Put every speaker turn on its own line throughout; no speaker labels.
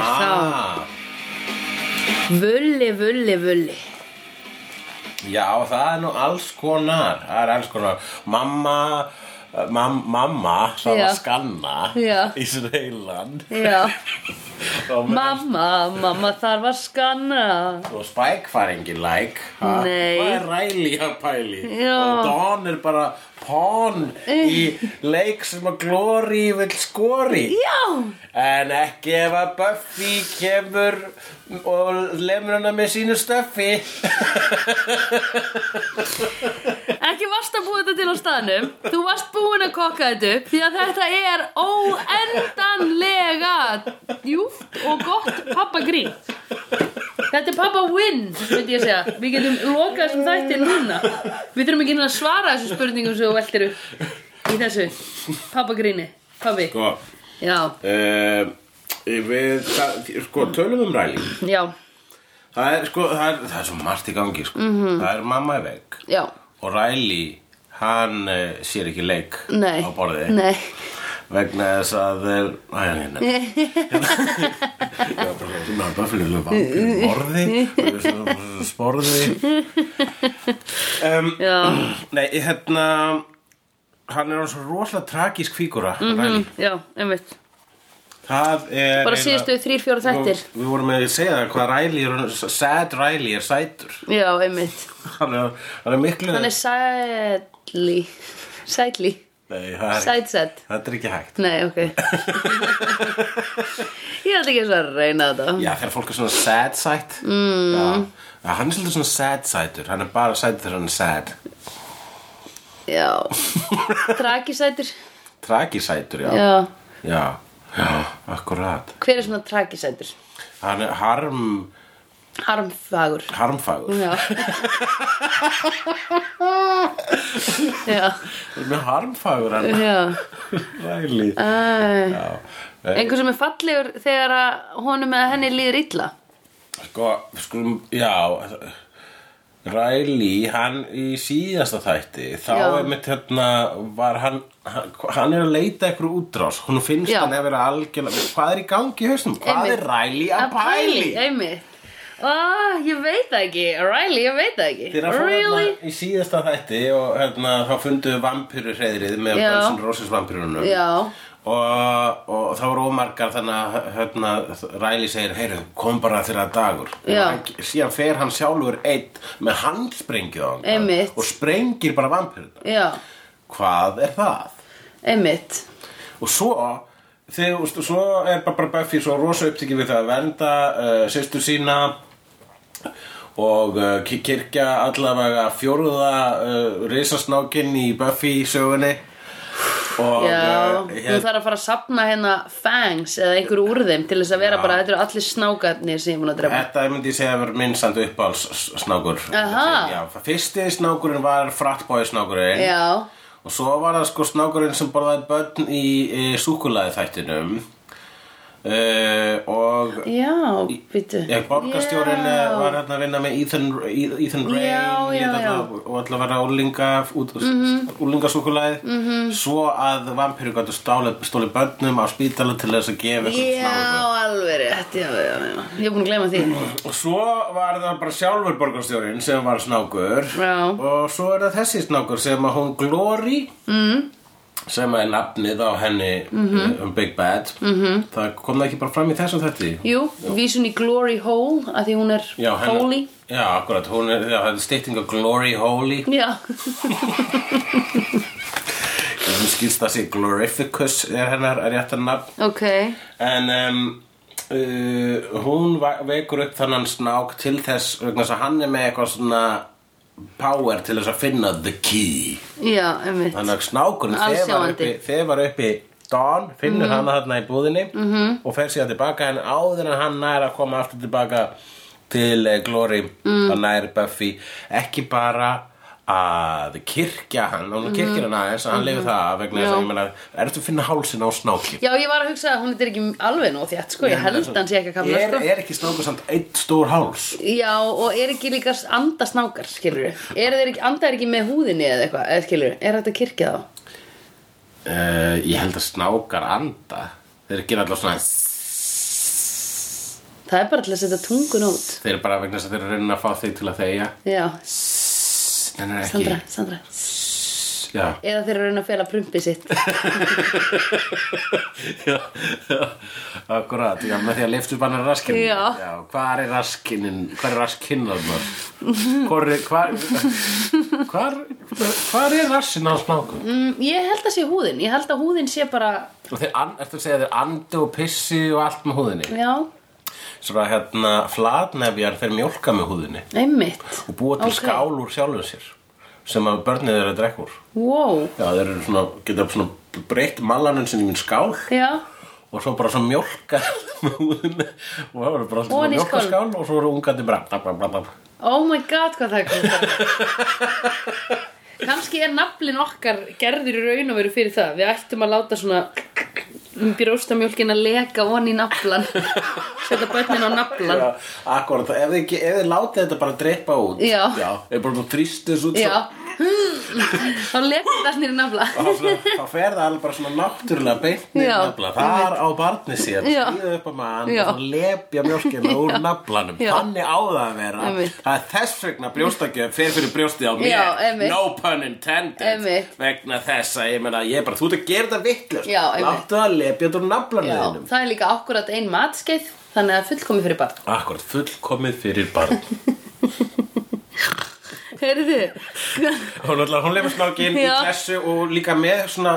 Ah.
Bullivulli
Já, það er nú alls konar, það er alls konar. Mamma, eh, mam, mamma, það
Já.
var skanna
Já.
í Sreiland.
Já,
Og,
mamma, mamma þarf að skanna
og Spike var engin læk. ha?
Nei.
Hvað er Riley að pæli?
Já.
Og Don er bara pón í leik sem að Glory vill skori.
Já,
En ekki ef að Buffy kemur og lemur hana með sínu stöffi.
ekki varst að búa þetta til á staðnum Þú varst búin að kokka þetta upp Því að þetta er óendanlega djúft og gott pappagrín Þetta er pappa win, myndi ég segja Við getum lokað þessum þætti núna Við þurfum ekki einu að svara þessu spurningum sem þú veltir upp í þessu pappagríni Pappi,
Sko,
já,
uh, við, það, sko, tölum um Riley.
já,
Það er, sko, það er, það er svo margt í gangi sko.
Mhm.
-hmm. Það er mamma í veg
já
Og Riley, hann uh, sér ekki leik
Nei,
á borði
nei,
Vegna þess að þeir Æ, nei, nei Ég var bara að finna að böflinu Borði Sporði um,
já,
Nei, hérna Hann er svo rosalega tragísk fígura Riley
já, einmitt
Það er
Mhm. Bara
eiginlega-
síðustu þrír, fjóra þættir
Við- Við vorum með að segja það hvað Riley er Sad Riley er sætur
Já, einmitt
Hann er, hann er miklu
Hann er sætli Sætli
Nei, það er,
Sætsett
þetta er ekki hægt
Nei, ok Ég ætla ekki eins og að reyna þetta
Já, þegar fólk er svona sad sight mm. Já, Já, hann er svolítið svona sad sightur Hann er bara sætur þegar hann er sad
Já Tragisætur
Tragisætur, já
Já
Já, já akkurat
Hver er svona tragisætur?
Hann er harm,
Harmfagur
harmfagur
Já Já
Hann er með harmfagur hann
Já
Ræli
Æ.
Já Eh,
Einhver sem er fallegur þegar að honum eða henni líður illa
Sko, skulum, já Riley, hann í síðasta þætti þá
Já.
er mitt hérna var hann, hann hann er að leita eitthvað útrás, hún finnst
Já.
hann að vera algjörlega, hvað er í gangi í hausnum, hvað
Einmitt.
er Riley að
Að
pæli
Einmitt Ah, ég veit það ekki Riley, ég veit það ekki
þegar fór
Really?
hérna í síðasta þætti og hérna þá funduðu vampýru hreðrið með
Já.
Benson Roses vampýrunum
Já.
og, og það voru ómargar þannig að hérna, Riley segir heyru, kom bara þeirra dagur
Já.
Og hann, síðan fer hann sjálfur einn með handsprengið á hann
Einmitt.
og sprengir bara vampýruna
Já,
hvað er það?
einmitt
og svo þegar, þú veist, svo er bara Buffy svo rosa upptikið við það að vernda uh, sýstu sína og uh, ki- kirkja allavega fjóruða uh, risasnákinn í Buffy sögunni og
Já,
eh,
þú þarf að fara að sapna hérna fangs eða einhverju úr þeim til þess að vera bara, þetta eru allir snákarnir sem ég mun að drepa
Þetta myndi ég segja að vera minnsand uppáls snákur
Aha.
Já, Fyrsti snákurinn var frattbói snákurinn
Já,
Og svo var það sko snákurinn sem borðaði börn í e, súkulaði þættinum E, Og
já, býttu
Ég, borgarstjórin
Já.
eh, var hérna að vinna með Ethan, E, Ethan Ray
Já, já, já. Mhm.
og alltaf vera úlinga út, mm -hmm. úlingasúkulaði svo að vampiru gætu stáli, stóli börnum á spítala til þess að gefa eitthvað
Já,
snákur.
alveg rétt, já, já, já Ég er búin að gleyma því
og svo var það bara sjálfur borgarstjórin sem var snákur
Já.
og svo er það þessi snákur sem að hún Glory
mm, Mhm.
sem er nafnið á henni mm um Big Bad -hmm. það kom það ekki bara fram í þessum þetta
Jú, vísun í Glory Hole að því hún er
Já, hennar-
holy
Já, akkurat, hún er, já, það er stytting af Glory Holy
Já,
Hún skilst að sé Glorificus er hennar réttar nafn
ok
En um, uh, hún va- vekur upp þannan snák til þess vegna þess að hann er með eitthvað svona power til þess að finna the key
Já, einmitt
Þannig að snákurinn þegar
Allsjáandi.
uppi, þegar uppi Don, finnur
Mhm.
hana þarna í búðinni -hmm. og fer síðan tilbaka en áður en hann nær að koma aftur tilbaka til eh, Glory mm. að nær Buffy ekki bara að kirkja hann og
Mhm.
hún kirkir hann aðeins að hann lifir það vegna þess að ég meina ertu að finna hálsinn á snáki
Já, ég var að hugsa að hún er ekki alveg nóg þétt, sko Ég held hann sé ekki að kamla,
er,
sko
er ekki snákur samt eitt stór háls
Já, og er ekki líka andasnákar, skilur við? Er þeir ekki, anda er ekki með húðinni eða eitthvað, eða skilur við? Er þetta kirkja þá?
uh, ég held að snákar anda þeir gera alltaf svona
Það Það er bara til að setja tungun út
Þeir eru bara vegna þess að þeir eru að reyna að fá þig til að þegja
Já,
En er ekki
Sandra, Sandra
Já,
Eða þeir eru að reyna að fela prumpið sitt
já, já Akkurat, já, með því að liftu bara raskinn
Já.
já Hvar er raskinn Hvar er raskinn þarna? Hvar er Hvar Hvar, hvar er rassinn á snáku?
mm, Ég held að sé húðin Ég held að húðin sé bara
Og þeir, an, ertu að segja þeir andi og pissi og allt með húðinni
Já,
Svona hérna, flatnefjar þeir mjólka með húðinni
einmitt
Og búa til
Ok.
skál úr sjálfum sér Sem að börnið eru að drekka úr
Wow
Já, þeir eru svona, geta svona breytt malanum sinni í minn skál
Já,
og svo bara svona mjólka með húðinni og það eru bara
Ofan
svona
í
mjólka
skál.
skál og svo eru ungandi bara bla, bla, bla, bla.
oh my god hvað það er kom Kanski er naflin okkar gerður í raun og veru fyrir það Við ættum að láta svona brjóstamjólkin að leka von í naflan Setja börnin á naflan
Já, akkurat, ef þið, ekki- ef þið látið þetta bara dreipa út
Já.
já ef bara búin þrýstu þessu út
Já
svo,
Þá lekur það nýri nafla
þá, svona- þá fer það alveg bara svona náttúrulega beintni
Já,
nafla, þar á barni sér
Já.
stíða upp á mann
Já.
og svona lepja mjólkina úr naflanum
Já.
þannig á það að vera
Einmitt.
það er þess vegna brjóstakjöf fer fyrir brjóstið á mér
Já, einmitt.
no pun intended
Einmitt.
vegna þess að ég meina ég er bara, þú ert að gera þetta vittlust
Já, einmitt.
láttu það að lepja þetta úr naflanum
Já,
þínum
það er líka akkurat ein matskeið Þannig að fullkomi fyrir barn
Akkurat, fullkomið fyrir barn
Heyrðu,
Hún, ætla, hún lemur snákinn í
Já.
klessu og líka með svona,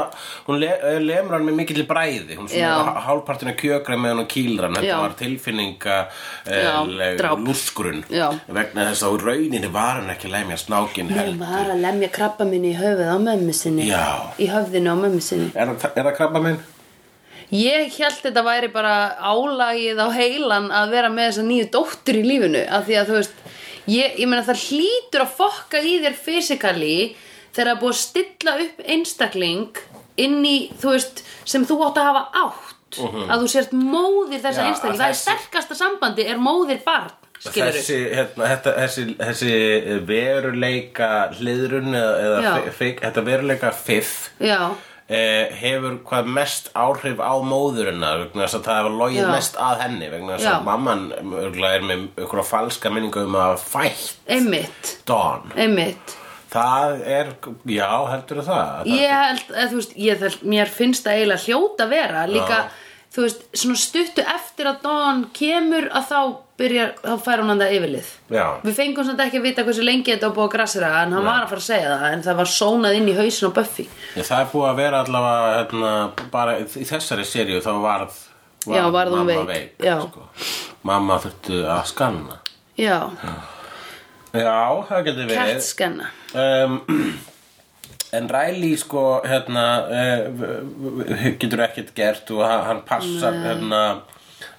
hún le, eh, lemur hann með mikill bræði, hún
Já.
svona hálpartina kjökra með hann og kýlra hann, þetta
Já.
var tilfinninga
Já, dráp.
lúsgrunn
Já.
vegna þess að úr rauninni var hann ekki að lemja snákinn
hún
heldur.
var að lemja krabba minni í höfuð á mömmu sinni
Já.
Í höfðinu á mömmu sinni
Er, það- er það krabba minn?
Ég held þetta væri bara álagið á heilan að vera með þessa nýju dóttur í lífinu af því að þú veist ég, ég meina það hlýtur að fokka í þér fysikali þegar það er búið að stilla upp einstakling inn í þú veist sem þú átt að hafa átt að þú sért móðir þessa
Mhm. Já,
einstakling
að
það er
þessi-
sterkasta sambandi er móðir barn skilur
Þessi, hérna, þetta, þessi, þessi veruleika hliðrun eða, eða
Já.
fi- fik, þetta veruleika fiff
Já,
eh, hefur hvað mest áhrif á móðurina vegna þess að það hefur logið
Já.
mest að henni vegna þess
Já.
að mamman örugglega er með ykkur falska minningu um að hafa fætt
einmitt
Dawn
einmitt
það er, já heldur það
ég held, eða, þú veist, ég held, mér finnst það eiginlega hljóta að vera líka, þú veist, svona stuttu eftir að Dawn kemur að þá byrjar, þá fær hún hann það yfirlið
Já.
við fengum svona ekki að vita hversu lengi þetta var búið að grassera en hann var að fara að segja það en það var sónað inn í hausin á Buffy
Já, það er búið að vera allavega hérna, bara í þessari seríu þá varð,
Já, varð hún
mamma sko.
veik, já.
mamma þurftu að skanna
já,
já, það getur verið
kertskenna
um, en Riley sko hérna uh, getur ekkert gert og hann hann passar hérna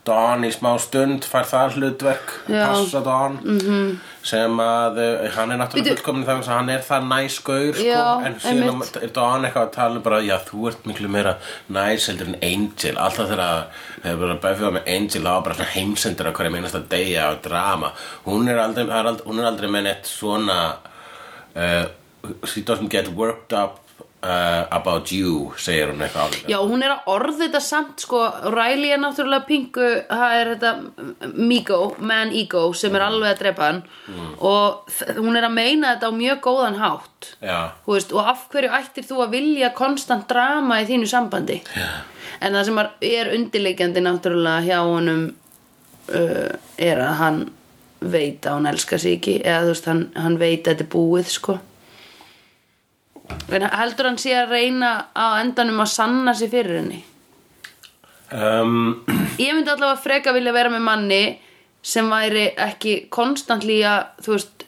Don í smá stund fær það hlutverk
Já. Mhm.
passa Don -hmm. sem að eh, hann er náttúrulega
Bíddu.
fullkomin þannig að hann er það næskaur sko,
Já,
en síðan
einmitt.
er Don eitthvað að tala um bara já þú ert miklu meira næs heldur en Angel alltaf þegar hefur bara bæfjóða með Angel þá var bara svona heimsendur á hverju meinast að deyja og drama hún er aldrei, það er aldrei, hún er aldrei með neitt svona uh, she doesn't get worked up uh, about you segir hún eitthvað álíka.
Já, hún er að orða þetta samt sko, Riley er náttúrulega pingu það er þetta Migo, man ego sem er alveg að drepa hann og þ- hún er að meina þetta á mjög góðan hátt
Já.
Þú veist, og af hverju ættir þú að vilja konstant drama í þínu sambandi yeah. en það sem er- er undirleikjandi náttúrulega hjá honum uh, er að hann veit að hún elskar sig ekki eða þú veist, hann, hann veit að þetta er búið sko en heldur hann sé að reyna á endanum að sanna sig fyrir henni
um,
ég myndi allavega freka vilja vera með manni sem væri ekki konstantli að þú veist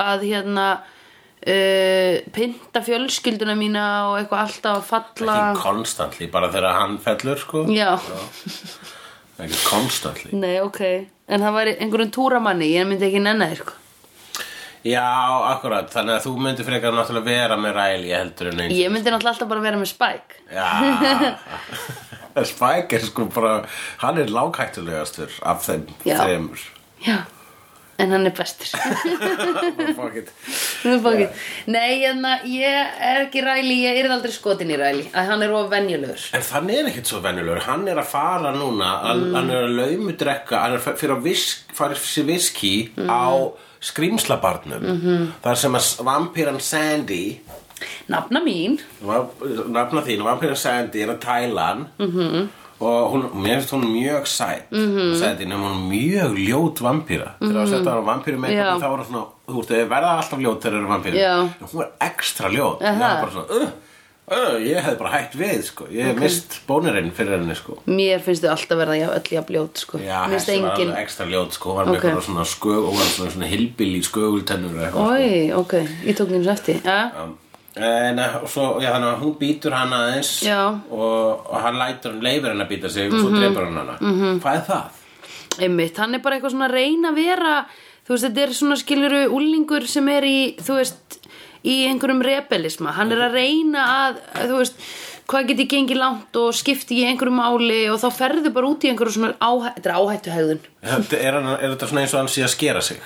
að hérna uh, pynta fjölskylduna mína og eitthvað alltaf að falla
ekki konstantli bara þegar hann fellur sko
já,
ekki konstantli
nei ok en það væri einhverjum túramanni, ég myndi ekki nenna þér sko.
já akkurat þannig að þú myndir frekar náttúrulega vera með ræli heldur en eins
ég myndi náttúrulega alltaf bara vera með spæk
já Spike er sko bara hann er lághættulegastur af þeim
Já.
þeimur
já, en hann er bestur
Fuck it.
Nú fókið. Nei, hérna, ég er ekki ræli, ég er aldrei skotin í ræli að hann er of venjulegur
En þannig er ekkert svo venjulegur, hann er að fara núna, mm. hann er að laumudrekka, hann er f- fyrir að visk, fara sér viski á skrýmslabarnum, -hmm. þar sem að s- vampíran Sandy,
Nafna mín
va- nafna þín, vampíran Sandy er að tæla hann
Mhm.
-hmm. og hún, mér finnst hún mjög sætt, -hmm. Sandy, nema hún er mjög ljót vampíra, þegar að setja hann á vampíru með
Mhm. Já.
þá er hún svona, þú veist, þau verða alltaf ljót þegar þau eru vampíru,
Já.
en hún er ekstra ljót,
Aha.
ég er bara svona, uh, uh, ég hefði bara hætt við, sko, ég hef mist bónirinn fyrir henni, sko.
Mér finnst þau alltaf verða jafn- öll jafn bljót sko.
Já,
Mér finnst
þessi var
engin
alveg ekstra ljót sko, var með
Ok.
okay. eitthvað svona skög og var svona, svona hilbili skögultennur eða eitthvað sko.
Ói, ok, ég tók nýjum eftir ja.
Já. En eh, og svo, já, þannig að hún býtur hann aðeins
Já. Mhm.
og, og hann lætur hann, leifir hann að býta sig og svo drefur hann hana. -hmm. Hvað er það?
Einmitt, hann er bara eitthvað svona að reyna að vera Þú veist, þetta er svona skiluru úlingur sem er í, þú veist í einhverjum rebelisma, hann er að reyna að, þú veist, hvað geti gengið langt og skipti í einhverju máli og þá ferðu bara út í einhverju svona áhæ... þetta er áhættuhegðun
Þetta- Er, hann, er þetta svona eins og hann sé að skera sig?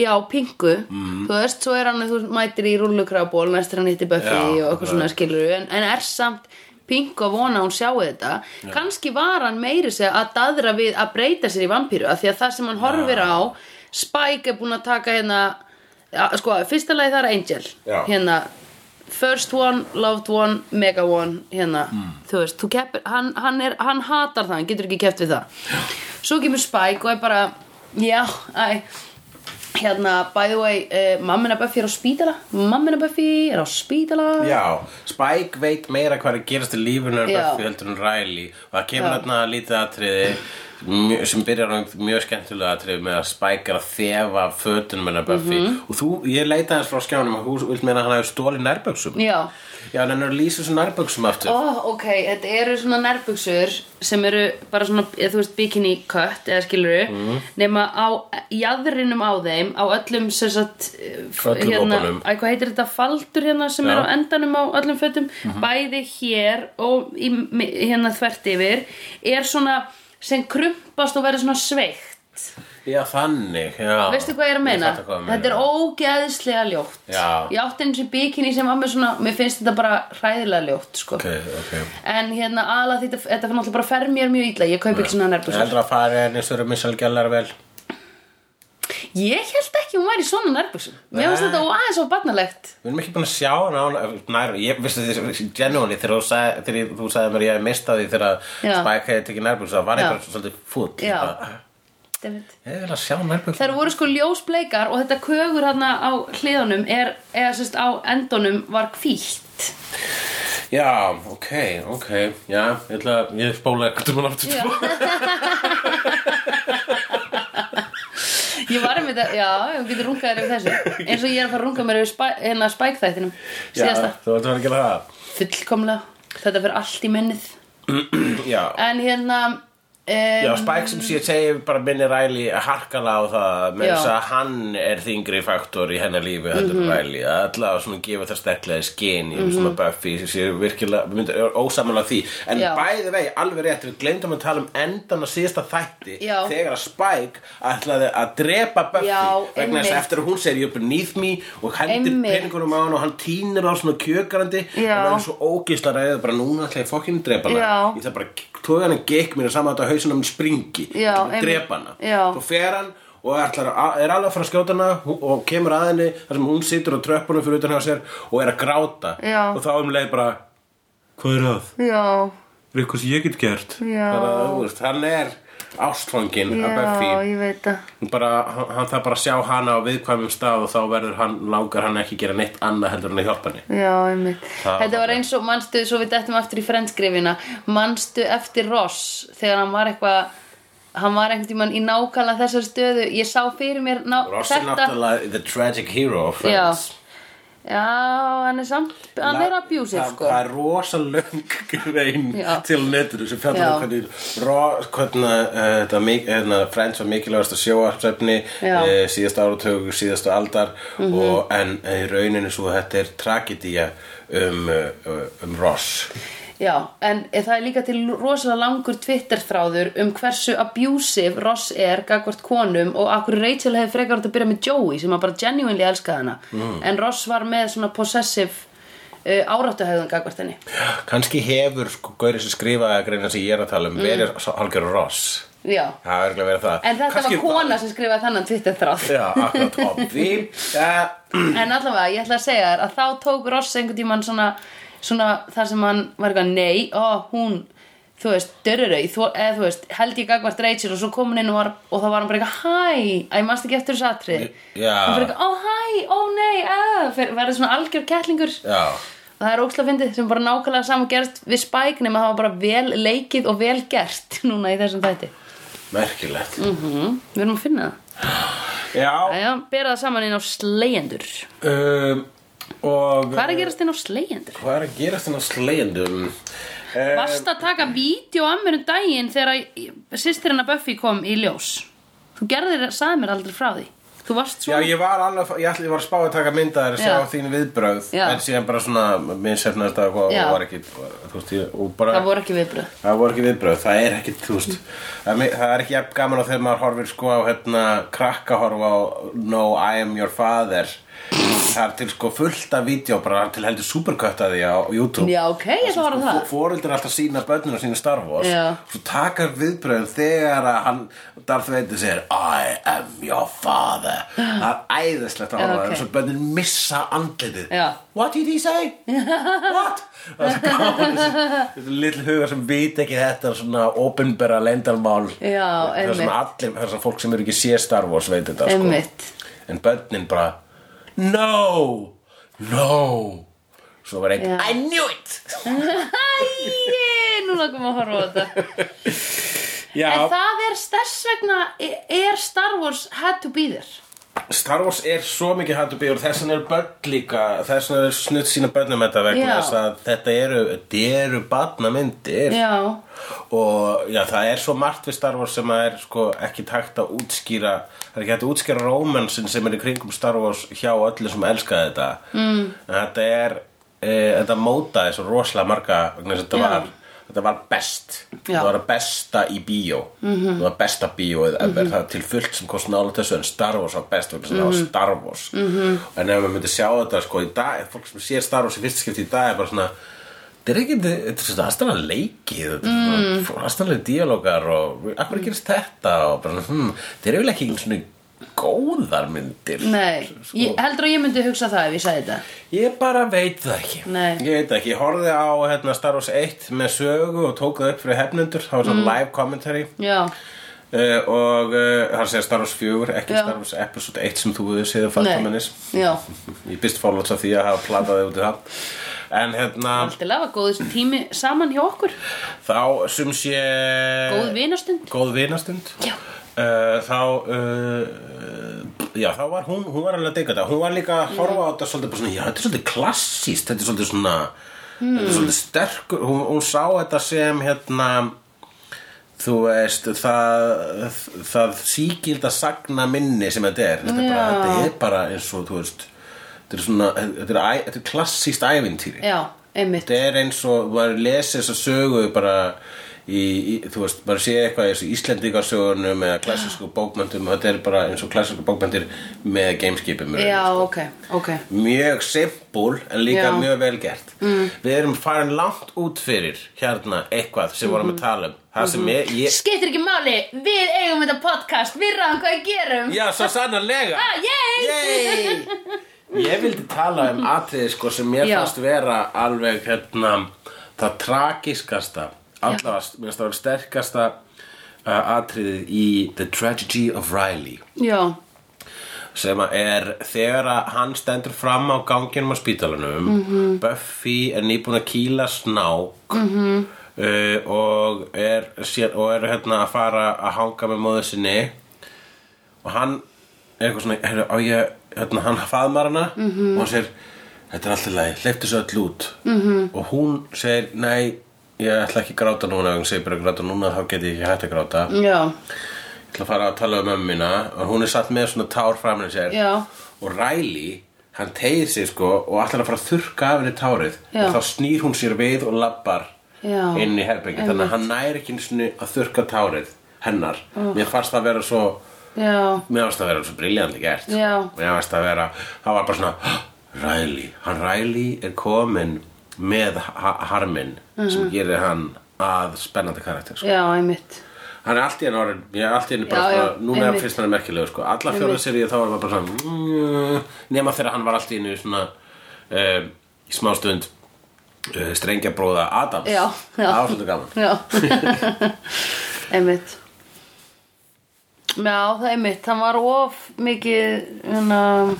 Já, pingu, þú veist, svo er hann þú mætir í rúllukraból, næst er hann hitti Buffy
Já,
og eitthvað svona skilur en, en er samt pingu að vona að hún sjáu þetta kannski var hann meiri sig að daðra við að breyta sér í vampíru af því að það sem hann horfir á Spike er búin að taka hérna ja, sko, fyrsta lagi það er Angel
Já.
hérna, first one, loved one mega one, hérna þú veist, þú keppir, hann, hann, er, hann hatar það hann getur ekki keppt við það Já. svo kemur Spike og er bara já, æ, hérna, by the way, uh, mammina Buffy er á spítala mammina Buffy er á spítala
Já, Spike veit meira hvað er að gerast í lífinu
Já.
Buffy heldur en Riley og það kemur
Já.
þarna lítið atriði mjö- sem byrjar á mjög skemmtulega atriði með að Spike er að þefa fötunum hennar Buffy
Mhm.
og þú, ég leita hans frá skjánum og þú vilt meina að hann hafi stólið nærböksum
Já.
Já, en hann er að lýsa þessu nærböksum aftur
Ó, ok, þetta eru svona nærbuxur sem eru bara svona, eða þú veist, bikini cut eða skiluru,
Mhm.
nema á jæðrinum á þeim, á öllum sem sagt, eh, f-
Öllum
hérna,
lopanum.
æ, hvað heitir þetta, faldur hérna sem
Já. Mhm.
er á endanum á öllum fötum, bæði hér og í, mi- hérna þvert yfir, er svona sem krumpast og verður svona sveikt.
Já, þannig, já
Veistu hvað ég er að meina?
fatta hvað þú
Þetta er
meinar.
ógeðslega ljótt.
Já.
Ég átti eins og bikini sem var með svona, mér finnst þetta bara hræðilega ljótt, sko.
Ok, ok
En hérna aðla þetta, þetta fyrir náttúrulega bara fer mér mjög illa Ég kaup ekki svona
Ég
nærbúsur
heldur að fara henni svo eru missal gælar vel
Ég held ekki hún væri svona nærbúsum Mér finnst
Nei.
þetta aðeins of barnalegt
Við erum ekki búin að sjá hana á nær, ég vissi því genuinely þegar þú, sag, þegar ég- þú sagði mér ég hef mistað því þegar að
Já.
Spike hefði tekið nærbúls það var
Já.
eitthvað svolítið fúll
Já.
Bara,
David.
Ég vil að sjá nærbúls
Þær voru sko ljósbleikar og þetta kögur hérna á hliðunum er, eða sérst á endunum var hvítt
Já, ok, ok, já, ég ætla að ég spóla eitthvað um hann aftur
Já. Ég var einmitt að, já, ég getur rungað þér yfir þessu eins og ég er að fara að runga mér yfir spæ, hérna spækþættinum
Já,
síðasta,
þú ætla að gera það
fullkomlega þetta fyrir allt í minnið
Já,
En hérna um,
já, Spike sem sé segi bara minni Riley harkala á það með
Já. Mhm.
þess að hann er þingri faktor í hennar lífi heldur mm -hmm. Riley að allavega svona gefa það sterklega skinn í mm -hmm. svona Buffy sem sé virkilega, við myndum ósamanlega því en
Já.
bæði vegi, alveg rétt, við gleymdum að tala um endan á síðasta þætti
Já.
þegar að Spike ætlaði að drepa Buffy
Já,
vegna þess að
einmitt.
eftir að hún segir you're beneath me og hendir
Einmitt.
peningunum á hann og hann týnir á svona kjökarandi
Já.
og hann er svo ógisla ræðið bara núna ætla ég fokkinu drepa hana
Já.
ég það bara tóði hann að gekk mér saman þetta hausin um springi
Já,
Ég ætla að
einmitt.
drepa hana
Já.
og fer hann og ætlar, að- er alveg að fara að skjóta hana hú- og kemur að henni þar sem hún situr á tröppunum fyrir utan hjá sér og er að gráta
Já.
og þá um leið bara hvað er að?
Já,
Er eitthvað sem ég get gert?
Já.
Bara, þú veist, hann er ástfangin
já,
að Buffy
ég veit það
Hún bara, hann, hann þarf bara að sjá hana á viðkvæmum stað og þá verður hann, langar hann ekki að gera neitt annað heldur hann að hjálpa henni
Já, einmitt.
Það-
Þetta var eins og, manstu, svo við dettum aftur í frendskrifinna, manstu eftir Ross þegar hann var eitthvað, hann var einhvern tímann í nákvæmlega þessar stöðu, ég sá fyrir mér ná,
Ross er náttúrulega the tragic hero of
já,
Friends
já, hann er samt, hann er abusive,
Það-
sko.
Það er rosa löng grein
Já.
til netinu sem fjallar um
Já.
hvernig Ross, hvernig uh, þetta mik- hérna, Friends var mikilvægast að sjóarsefni
Já. Mhm.
uh, síðast áratug, síðastu aldar og, en eh, í rauninu svo þetta er tragedía um, uh, um eh, Ross
Já, en það er líka til rosalega langur Twitter-þráður um hversu abusive Ross er gagvart konum og akkur Rachel hefði frekar átt að byrja með Joey sem að bara genuinely elskaði hana en Ross var með svona possessive uh, áráttuhegðun gagvart henni
Kanski hefur sko gauri sem skrifaði greina sem ég er að tala um verið hálfgjör ross
Já,
Það er örgulega verið það
Mm. en þetta
Kannski-
var kona sem skrifaði þannan Twitter-þráð
Já, akkurat, obvi ja,
En allavega, ég ætla að segja þér að þá tók Ross einhvern tímann svona, svona þar sem hann var eitthvað nei, ó, hún, þú veist, dörrurau, þú, eða þú veist, held ég gagvart Rachel og svo kom hann inn og, var, og þá var hann bara eitthvað, hæ, að ég manst ekki eftir þessu atrið.
Já.
Hann bara eitthvað, ó, hæ, ó, nei, eða, verður svona algjör kettlingur.
Já,
Og það er óksla fyndið sem bara nákvæmlega saman gerst við Spike nema það var bara vel leikið og vel gert núna í þessum þætti.
merkilegt
Mm. Við erum að finna það.
Já,
Æja, bera það saman inn á slegjendur.
um, og
Hvað er að gerast inn á slegjendur?
Hvað er að gerast þannig á slegjendum? Eh,
Varst að taka vídeo af mér um daginn þegar sýstir hennar Buffy kom í ljós? Þú gerðir, sagði mér aldrei frá því. Þú varst
Já,
svona...
ég var alveg, ég ætla, ég var að spá að taka mynda þér að
Já.
sjá þín viðbrögð
Já.
en síðan bara svona, minn sefna þetta og
Já.
var ekki, þú veist, ég, og bara
Það voru ekki viðbröð.
það voru ekki viðbröð, það er ekki, þú veist það er mi- það er ekki jafn gaman á þegar maður horfir sko á hérna, krakka horfa á No, I am your father það er til sko fullt af vídeo bara til heldur superkött að því á YouTube
Já, ok, ég ætla að horfa á það.
Fóreldar alltaf sína börnum og sína Star Wars
Já.
Svo takar viðbröðum þegar að hann Darth Vader segir I am your father Það er æðislegt að
Já,
horfa
ok.
okay. Svo börnin missa andlitið
Já.
What did he say? What? Það er svo gaman Þessi lill hugar sem vita ekki þetta Svona opinbera lendalmál
Já,
Það er svona allir, það er svona fólk sem eru ekki sé Star Wars veit þetta sko.
Einmitt.
En börnin bara No, no Svo var einn
Já.
I knew it
Æi, nú langum að horfa á þetta. En
Já,
það er stærst vegna, er Star Wars had to be there?
Star Wars er svo mikið handubíður þess vegna er börn líka þess vegna er snutt sína börnum þetta vegna
Já.
þess að þetta eru, þetta eru barnamyndir
Já,
og já, það er svo margt við Star Wars sem að er sko ekki takt að útskýra það er ekki hægt að útskýra rómansin sem er í kringum Star Wars hjá öllu sem elska þetta mm. en þetta er e, þetta mótaði svo rosalega marga vegna þess að þetta
Já.
var Þetta var best,
Já. Mhm.
það var að besta í bíó, -hmm. það var besta bíóið mm -hmm. það er til fullt sem kosti nála þessu en Star Wars var best vegna sem það
Mhm.
var Star Wars -hmm. en ef maður myndi sjá þetta sko í dag, fólk sem sér Star Wars í fyrsta skipti í dag er bara svona þetta er ekki, þetta er svona aðstæðan leikið þetta er
Mhm.
svona mm. aðstæðanlega díalógar og akkur er gerist þetta og bara svona, hm, þetta er eiginlega ekki svona góðar myndir
nei.
sko.
Ég, heldur að ég myndi hugsa það ef ég sagði þetta.
Ég bara veit það ekki
Nei.
Ég veit það ekki, ég horfði á hérna, Star Wars 1 með sögu og tók það upp fyrir hefnendur Það var
Mhm.
svona live commentary
Já,
uh, Og uh, það segja Star Wars 4, ekki
Já.
Star Wars episode 1 sem þú hefur séð að
nei.
fantaminnis
Já,
Ég býst fórláts af því að hafa plataði út í það En hérna,
allt í lafa, góðist tími saman hjá okkur.
þá sum sé Eh.
Góð vinastund.
Góð vinastund
Já.
Uh, þá uh, já, þá var hún, hún var alveg að deyka þetta hún var líka að horfa á þetta svolítið bara svona, já, þetta er svolítið klassíst þetta er svolítið svona þetta er svolítið sterkur, hún, hún sá þetta sem hérna þú veist, það það síkild að sagna minni sem þetta er, þetta er bara,
Já.
þetta er bara eins og, þú veist þetta er svona, þetta er, æ- þetta er klassíst ævintýri
Já, einmitt.
þetta er eins og maður lesi þessa sögu bara í, í þú veist, maður sé eitthvað í þessu Íslendingarsögunum eða klassísku bókmöntum og þetta er bara eins og klassísku bókmöntir með gameskipum í raun.
Já, ok, ok
mjög simpul en líka
Já.
mjög vel gert mm. við erum farin langt út fyrir hérna eitthvað sem vorum
Mhm.
að tala um það sem ég, ég
Skiptir ekki máli, við eigum þetta podcast Við ráðum hvað við gerum
já, svo sannarlega
Ah, yay!
Yay! Ég vildi tala um atriði sko sem mér
Já.
fannst vera alveg hérna það tragiskasta allavega, mér finnst það vera sterkasta uh, atriðið í The Tragedy of Riley
Já,
sem að er þegar að hann stendur fram á ganginum á spítalanum Buffy er nýbúin að kýla snák -hmm. uh, og er, sér, og er hérna, að fara að hanga með móðu sinni og hann er eitthvað svona heru, á ég, hérna, hann faðmar hana -hmm. og hann segir þetta er alltaf leið, leiftu svo öll út -hmm. og hún segir nei ég ætla ekki að gráta núna ef hún segir bara að gráta núna þá get ég ekki hægt að gráta
já,
Ég ætla að fara að tala um mömmu mína og hún er satt með svona tár framan í sér
Já.
og Riley, hann tegir sig sko og ætlar að fara að þurrka af henni tárið
Já.
og þá snýr hún sér við og labbar
Já.
inn í herbergi þannig að hann næri ekki einu sinni að þurrka tárið hennar mér fannst það vera svo
já,
mér fannst það vera svo briljandi gert sko.
Já.
mér fannst það vera það var bara svona Ræli, hann Ræli er komin með ha harminn
Mhm.
sem gerir hann að spennandi karakter sko.
já, einmitt
hann er allt í enn orðin ég er allt í enn bara
Já, já,
svona, núna er
einmitt.
fyrst hann er merkilegur sko. alla fjóra serið þá var maður bara svona mm, nema þegar hann var allt í enn svona uh, í smástund uh, strengjabróða Adams
Já, já.
það var svolítið gaman
Já Einmitt Já, það er einmitt Hann var of mikið hana,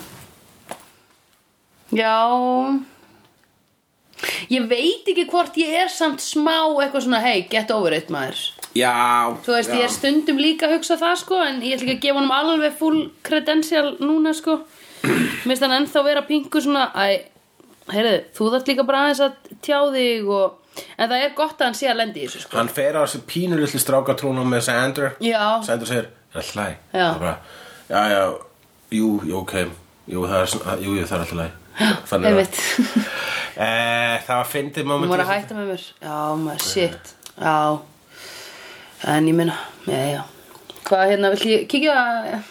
Já Ég veit ekki hvort ég er samt smá eitthvað svona Hey, get over it maður
já,
Þú veist,
já.
ég er stundum líka að hugsa það sko En ég ætla ekki að gefa honum alveg full credential núna sko Mér finnst hann ennþá vera pingu svona Æ, heyrðu, þú þarft líka bara aðeins að tjá þig og En það er gott að hann sé að lendi í þessu sko
hann fer á þessu pínulitli strákatrúna með Sander
Já.
Sander segir, er það hlæ
Já.
bara, já, já, jú, jú, ok jú, það er, svona- jú, jú, það er alltaf hlæ þannig að
Einmitt,
e, það var fyndið moment
hún var að
í þessu.
hætta með mér Já, maður, shit Já, en ég minna Já, já Hvað hérna, vill ég kíkja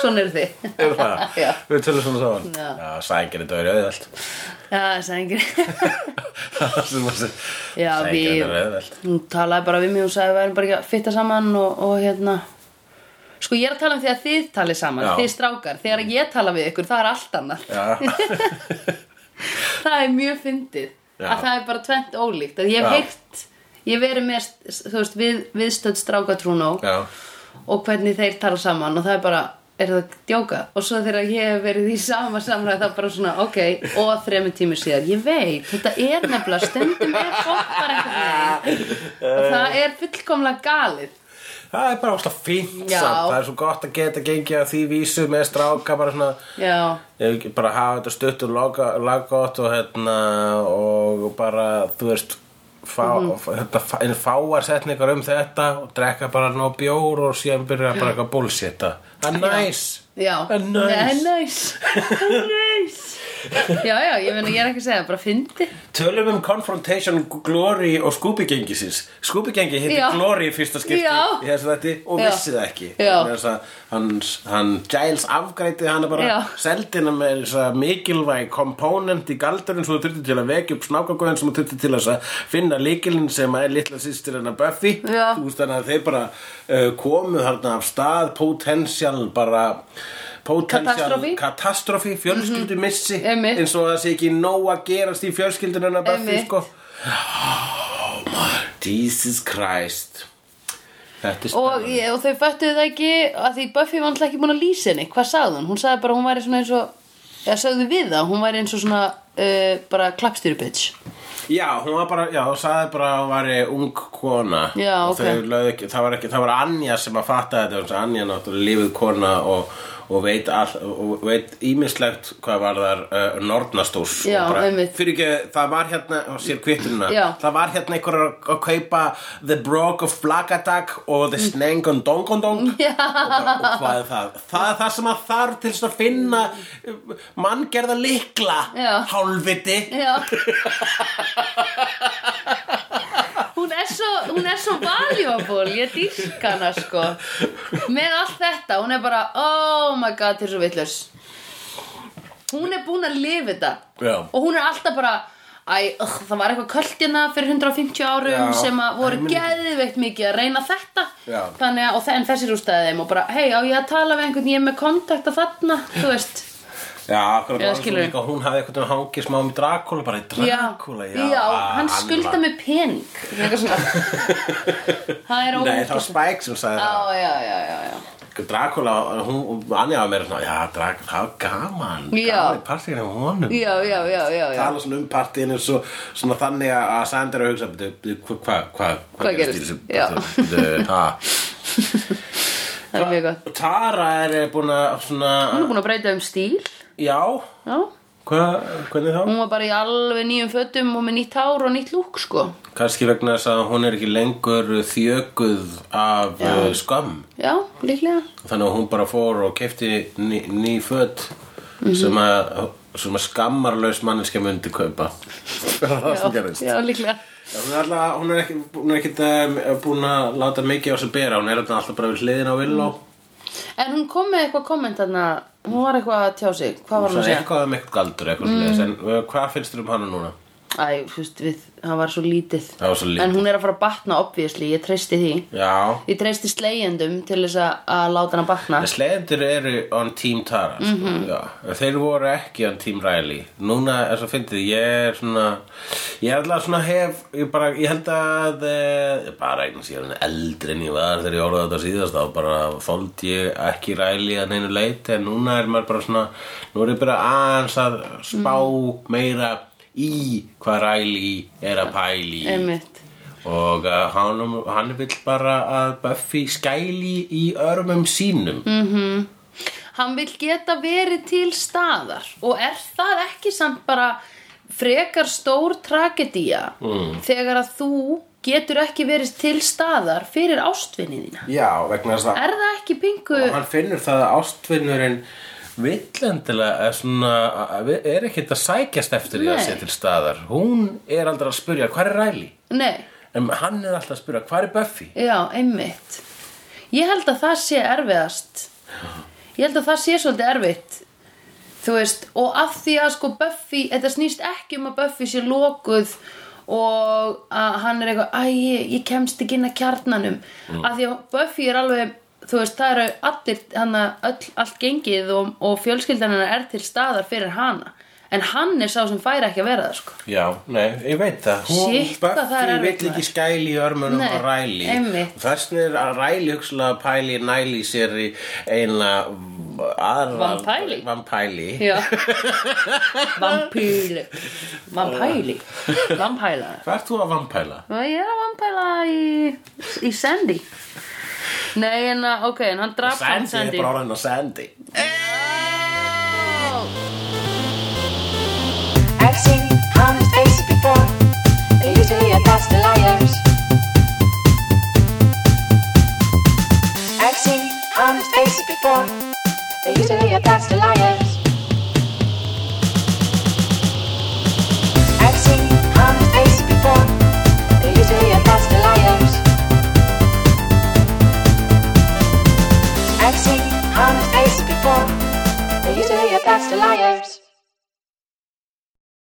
Svona eru þið
Er það?
Já.
Við tölum svona saman
Já.
Já sængirinn döður auðvelt
Já, þess að engin
Það sem að segja.
Já, við-
Sængirinn er auðvelt
Hún talaði bara við mig, hún sagði við erum bara ekki að fitta saman og, og hérna Sko, ég er að tala um því að þið talið saman,
Já.
þið strákar Þegar ég tala við ykkur, það er allt annað
Já,
það er mjög fyndið
Já.
að það er bara tvent ólíkt að ég hef
Já.
heyrt ég hef verið með þú veist, við, viðstödd strákatrúnó
já
og hvernig þeir tala saman og það er bara er það að djóka og svo þegar ég hef verið í sama samræð það er bara svona ok og þremur tímur síðar ég veit þetta er nefnilega stundum er fólk bara eitthvað og það er fullkomlega galið
Það er bara óslega fínt
Já.
samt. Það er svo gott að geta gengið að því vísu með stráka bara svona
já,
Ef ekki bara hafa þetta stutt og laga, laggott og hérna og bara þú veist fá,
Mhm.
þetta, fá- en fáar setningar um þetta og drekka bara nóg bjór og síðan byrja bara eitthvað bullshit það er næs
já
það er næs
það er næs það er næs já, já, ég meina ég er ekki að segja bara fyndi
Tölum um Confrontation, Glory og Scooby-gengisins. Scooby-gengi hitti
Já.
Glory í fyrsta skipti
Já.
í þessu þætti og
Já.
vissi það ekki.
Já.
Vegna þess að Hann, hann Giles afgrætið hann bara
Já.
seldina með þess að mikilvæg komponent í galdurinn sem þú þurfti til að vekja upp snákagóðin sem þú þurfti til þess að finna líkilinn sem er litla sýstir hennar Buffy.
Já.
Þú veist þannig að þeir bara uh, komu þarna af stað, potential bara...
Katastrófi.
Potential, katastrófi, fjölskyldumissi
Mhm. Einmitt.
eins og það sé ekki nóg að gerast í fjölskyldunum hennar Buffy
Einmitt.
sko Jesus Christ Þetta er
og,
spennandi.
ég- og þau föttuðu það ekki að því Buffy var alltaf ekki búin að lýsa henni hvað sagði hún, hún sagði bara að hún væri svona eins og eða sagði við það, hún væri eins og svona uh, bara klappstýru bitch
Já, hún var bara, já, hún sagði bara að hún væri ung kona
Já,
Og
ok.
þau lögðu ekki, það var ekki, það var Anja sem að fatta þetta Þannig að Anja náttúrulega lífið kona og, og veit all, og veit ímislegt hvað var þar uh, nornastús
Já,
Og bara,
einmitt.
Fyrir ekki, það var hérna, og sér kvittunina
Já.
Það var hérna einhver að, að kaupa The Brog of Flagadag og The Snang on Dong on Dong
Já.
og, bara, og hvað er það? Það er það sem að þarf til þess að finna uh, manngerða likla
Já.
Hálfviti
já hún er svo hún er svo valuable, ég dýrka hana sko með allt þetta, hún er bara oh my god, þér er svo vitlaus hún er búin að lifa þetta
Já.
og hún er alltaf bara Æ, ugh, það var eitthvað kvöldina fyrir 150 árum
Já,
sem að voru
ég meina-
geðveikt mikið að reyna þetta
Já.
þannig að, og þe en þessi rústaði þeim og bara, hei, á ég að tala við einhvern ég er með kontakta þarna, þú veist
Já, akkurat
Eða
var það
skilurðu?
líka hún hafði einhvern veginn hangið smá um Dracula, bara í Dracula, já, Ah,
já,
að
hann
annað.
skulda mig pening eitthvað svona það er
Nei, það var
ógeðslegt.
Spike sem sagði
já, já, já, já, já
það Dracula, hún, Anja var meira svona Já, Dracula, það var gaman
Já.
Gaman í partíinu á honum
já, já, já, já, já.
Tala svona um partíinu svo, svona þannig að Sander er að hugsa "Bíddu, bíddu, Hvað hva, hva, hva
Hvað gerist? Já.
Já
það er mjög gott
Tara er búin að svona
hún er búin að breyta um stíl
Já,
já.
hva, hvernig þá?
hún var bara í alveg nýjum fötum og með nýtt hár og nýtt lúk sko
Kannski vegna þess að hún er ekki lengur þjökuð af uh, skömm
já, líklega
þannig að hún bara fór og kefti ný, ný föt
Mhm.
sem að sem að skammarlaus manneskja myndi kaupa það var það sem gerist
já, líklega
Hún er, alltaf, hún er ekki, hún er ekki uh, búin að láta mikið á sig bera Hún er alltaf bara við hliðin á Villó
Mm, En hún kom með eitthvað komment þarna Hún var eitthvað að tjá sig Hvað var hún
Svo
að segja?
eitthvað um eitthvað galdur eitthvað mm. En uh, hvað finnst þér um hana núna?
Æ, þú veist, við, hann var svo lítið
Það var svo lítið.
En hún er að fara að batna, obviously, ég treysti því
Já
Ég treysti slegjendum til þess að, að láta hann að batna
En Slegjendur eru on Team Tara mm -hmm. sko. Já, Þeir voru ekki on Team Riley Núna, þess að fyndið, ég er svona Ég er alltaf svona hef Ég, bara, ég held að eh, Bara eins, ég er svona eldri en ég var Þegar ég orðaði þetta síðast Þá bara þóld ég ekki Riley að neinu leit En núna er maður bara svona Nú er ég bara aðeins að spá meira Í hvað Riley er að pæli í
Einmitt
og uh, hann, hann vill bara að Buffy skæli í örmum sínum mm.
Hann vil geta verið til staðar Og er það ekki samt bara frekar stór tragedía mm. Þegar að þú getur ekki verið til staðar fyrir ástvinni þína
já, vegna þess að
Er það ekki pingu?
og hann finnur það að ástvinnurinn villendilega er svona að- er ekkert að sækjast eftir í að
Nei.
sé til staðar hún er aldrei að spurja hvað er Riley
Nei
en hann er alltaf að spurja hvað er Buffy
Já, einmitt Ég held að það sé erfiðast Ég held að það sé svolítið erfitt Þú veist, og af því að sko Buffy, þetta snýst ekki um að Buffy sé lokuð og að hann er eitthvað, æ, ég, ég kemst ekki inn að kjarnanum af því að Buffy er alveg, þú veist, það eru allir, hann að öll, allt gengið og, og fjölskyldan hennar er til staðar fyrir hana, en hann er sá sem færi ekki að vera það, sko
Já, nei, ég veit það Hún,
Shit, hvað það er erfitt,
vill ekki
maður.
skæli í örmunum
Nei,
á Ræli
einmitt.
Þessna er að Ræli hugsalega pæli næli sér í eina aðra
Vampæli.
Vampæli
Já Vampýli Vampæli Vampæla
Hvað ert þú að vampæla?
Ég er að vampæla í, í Sandy Nei en að, ok, en hann draf hann
Sandy
Sandy
er bara orðin að Sandy
Ó,
I've seen honest faces before. They're usually a pass to liars. I've seen honest faces before. They're usually a pass to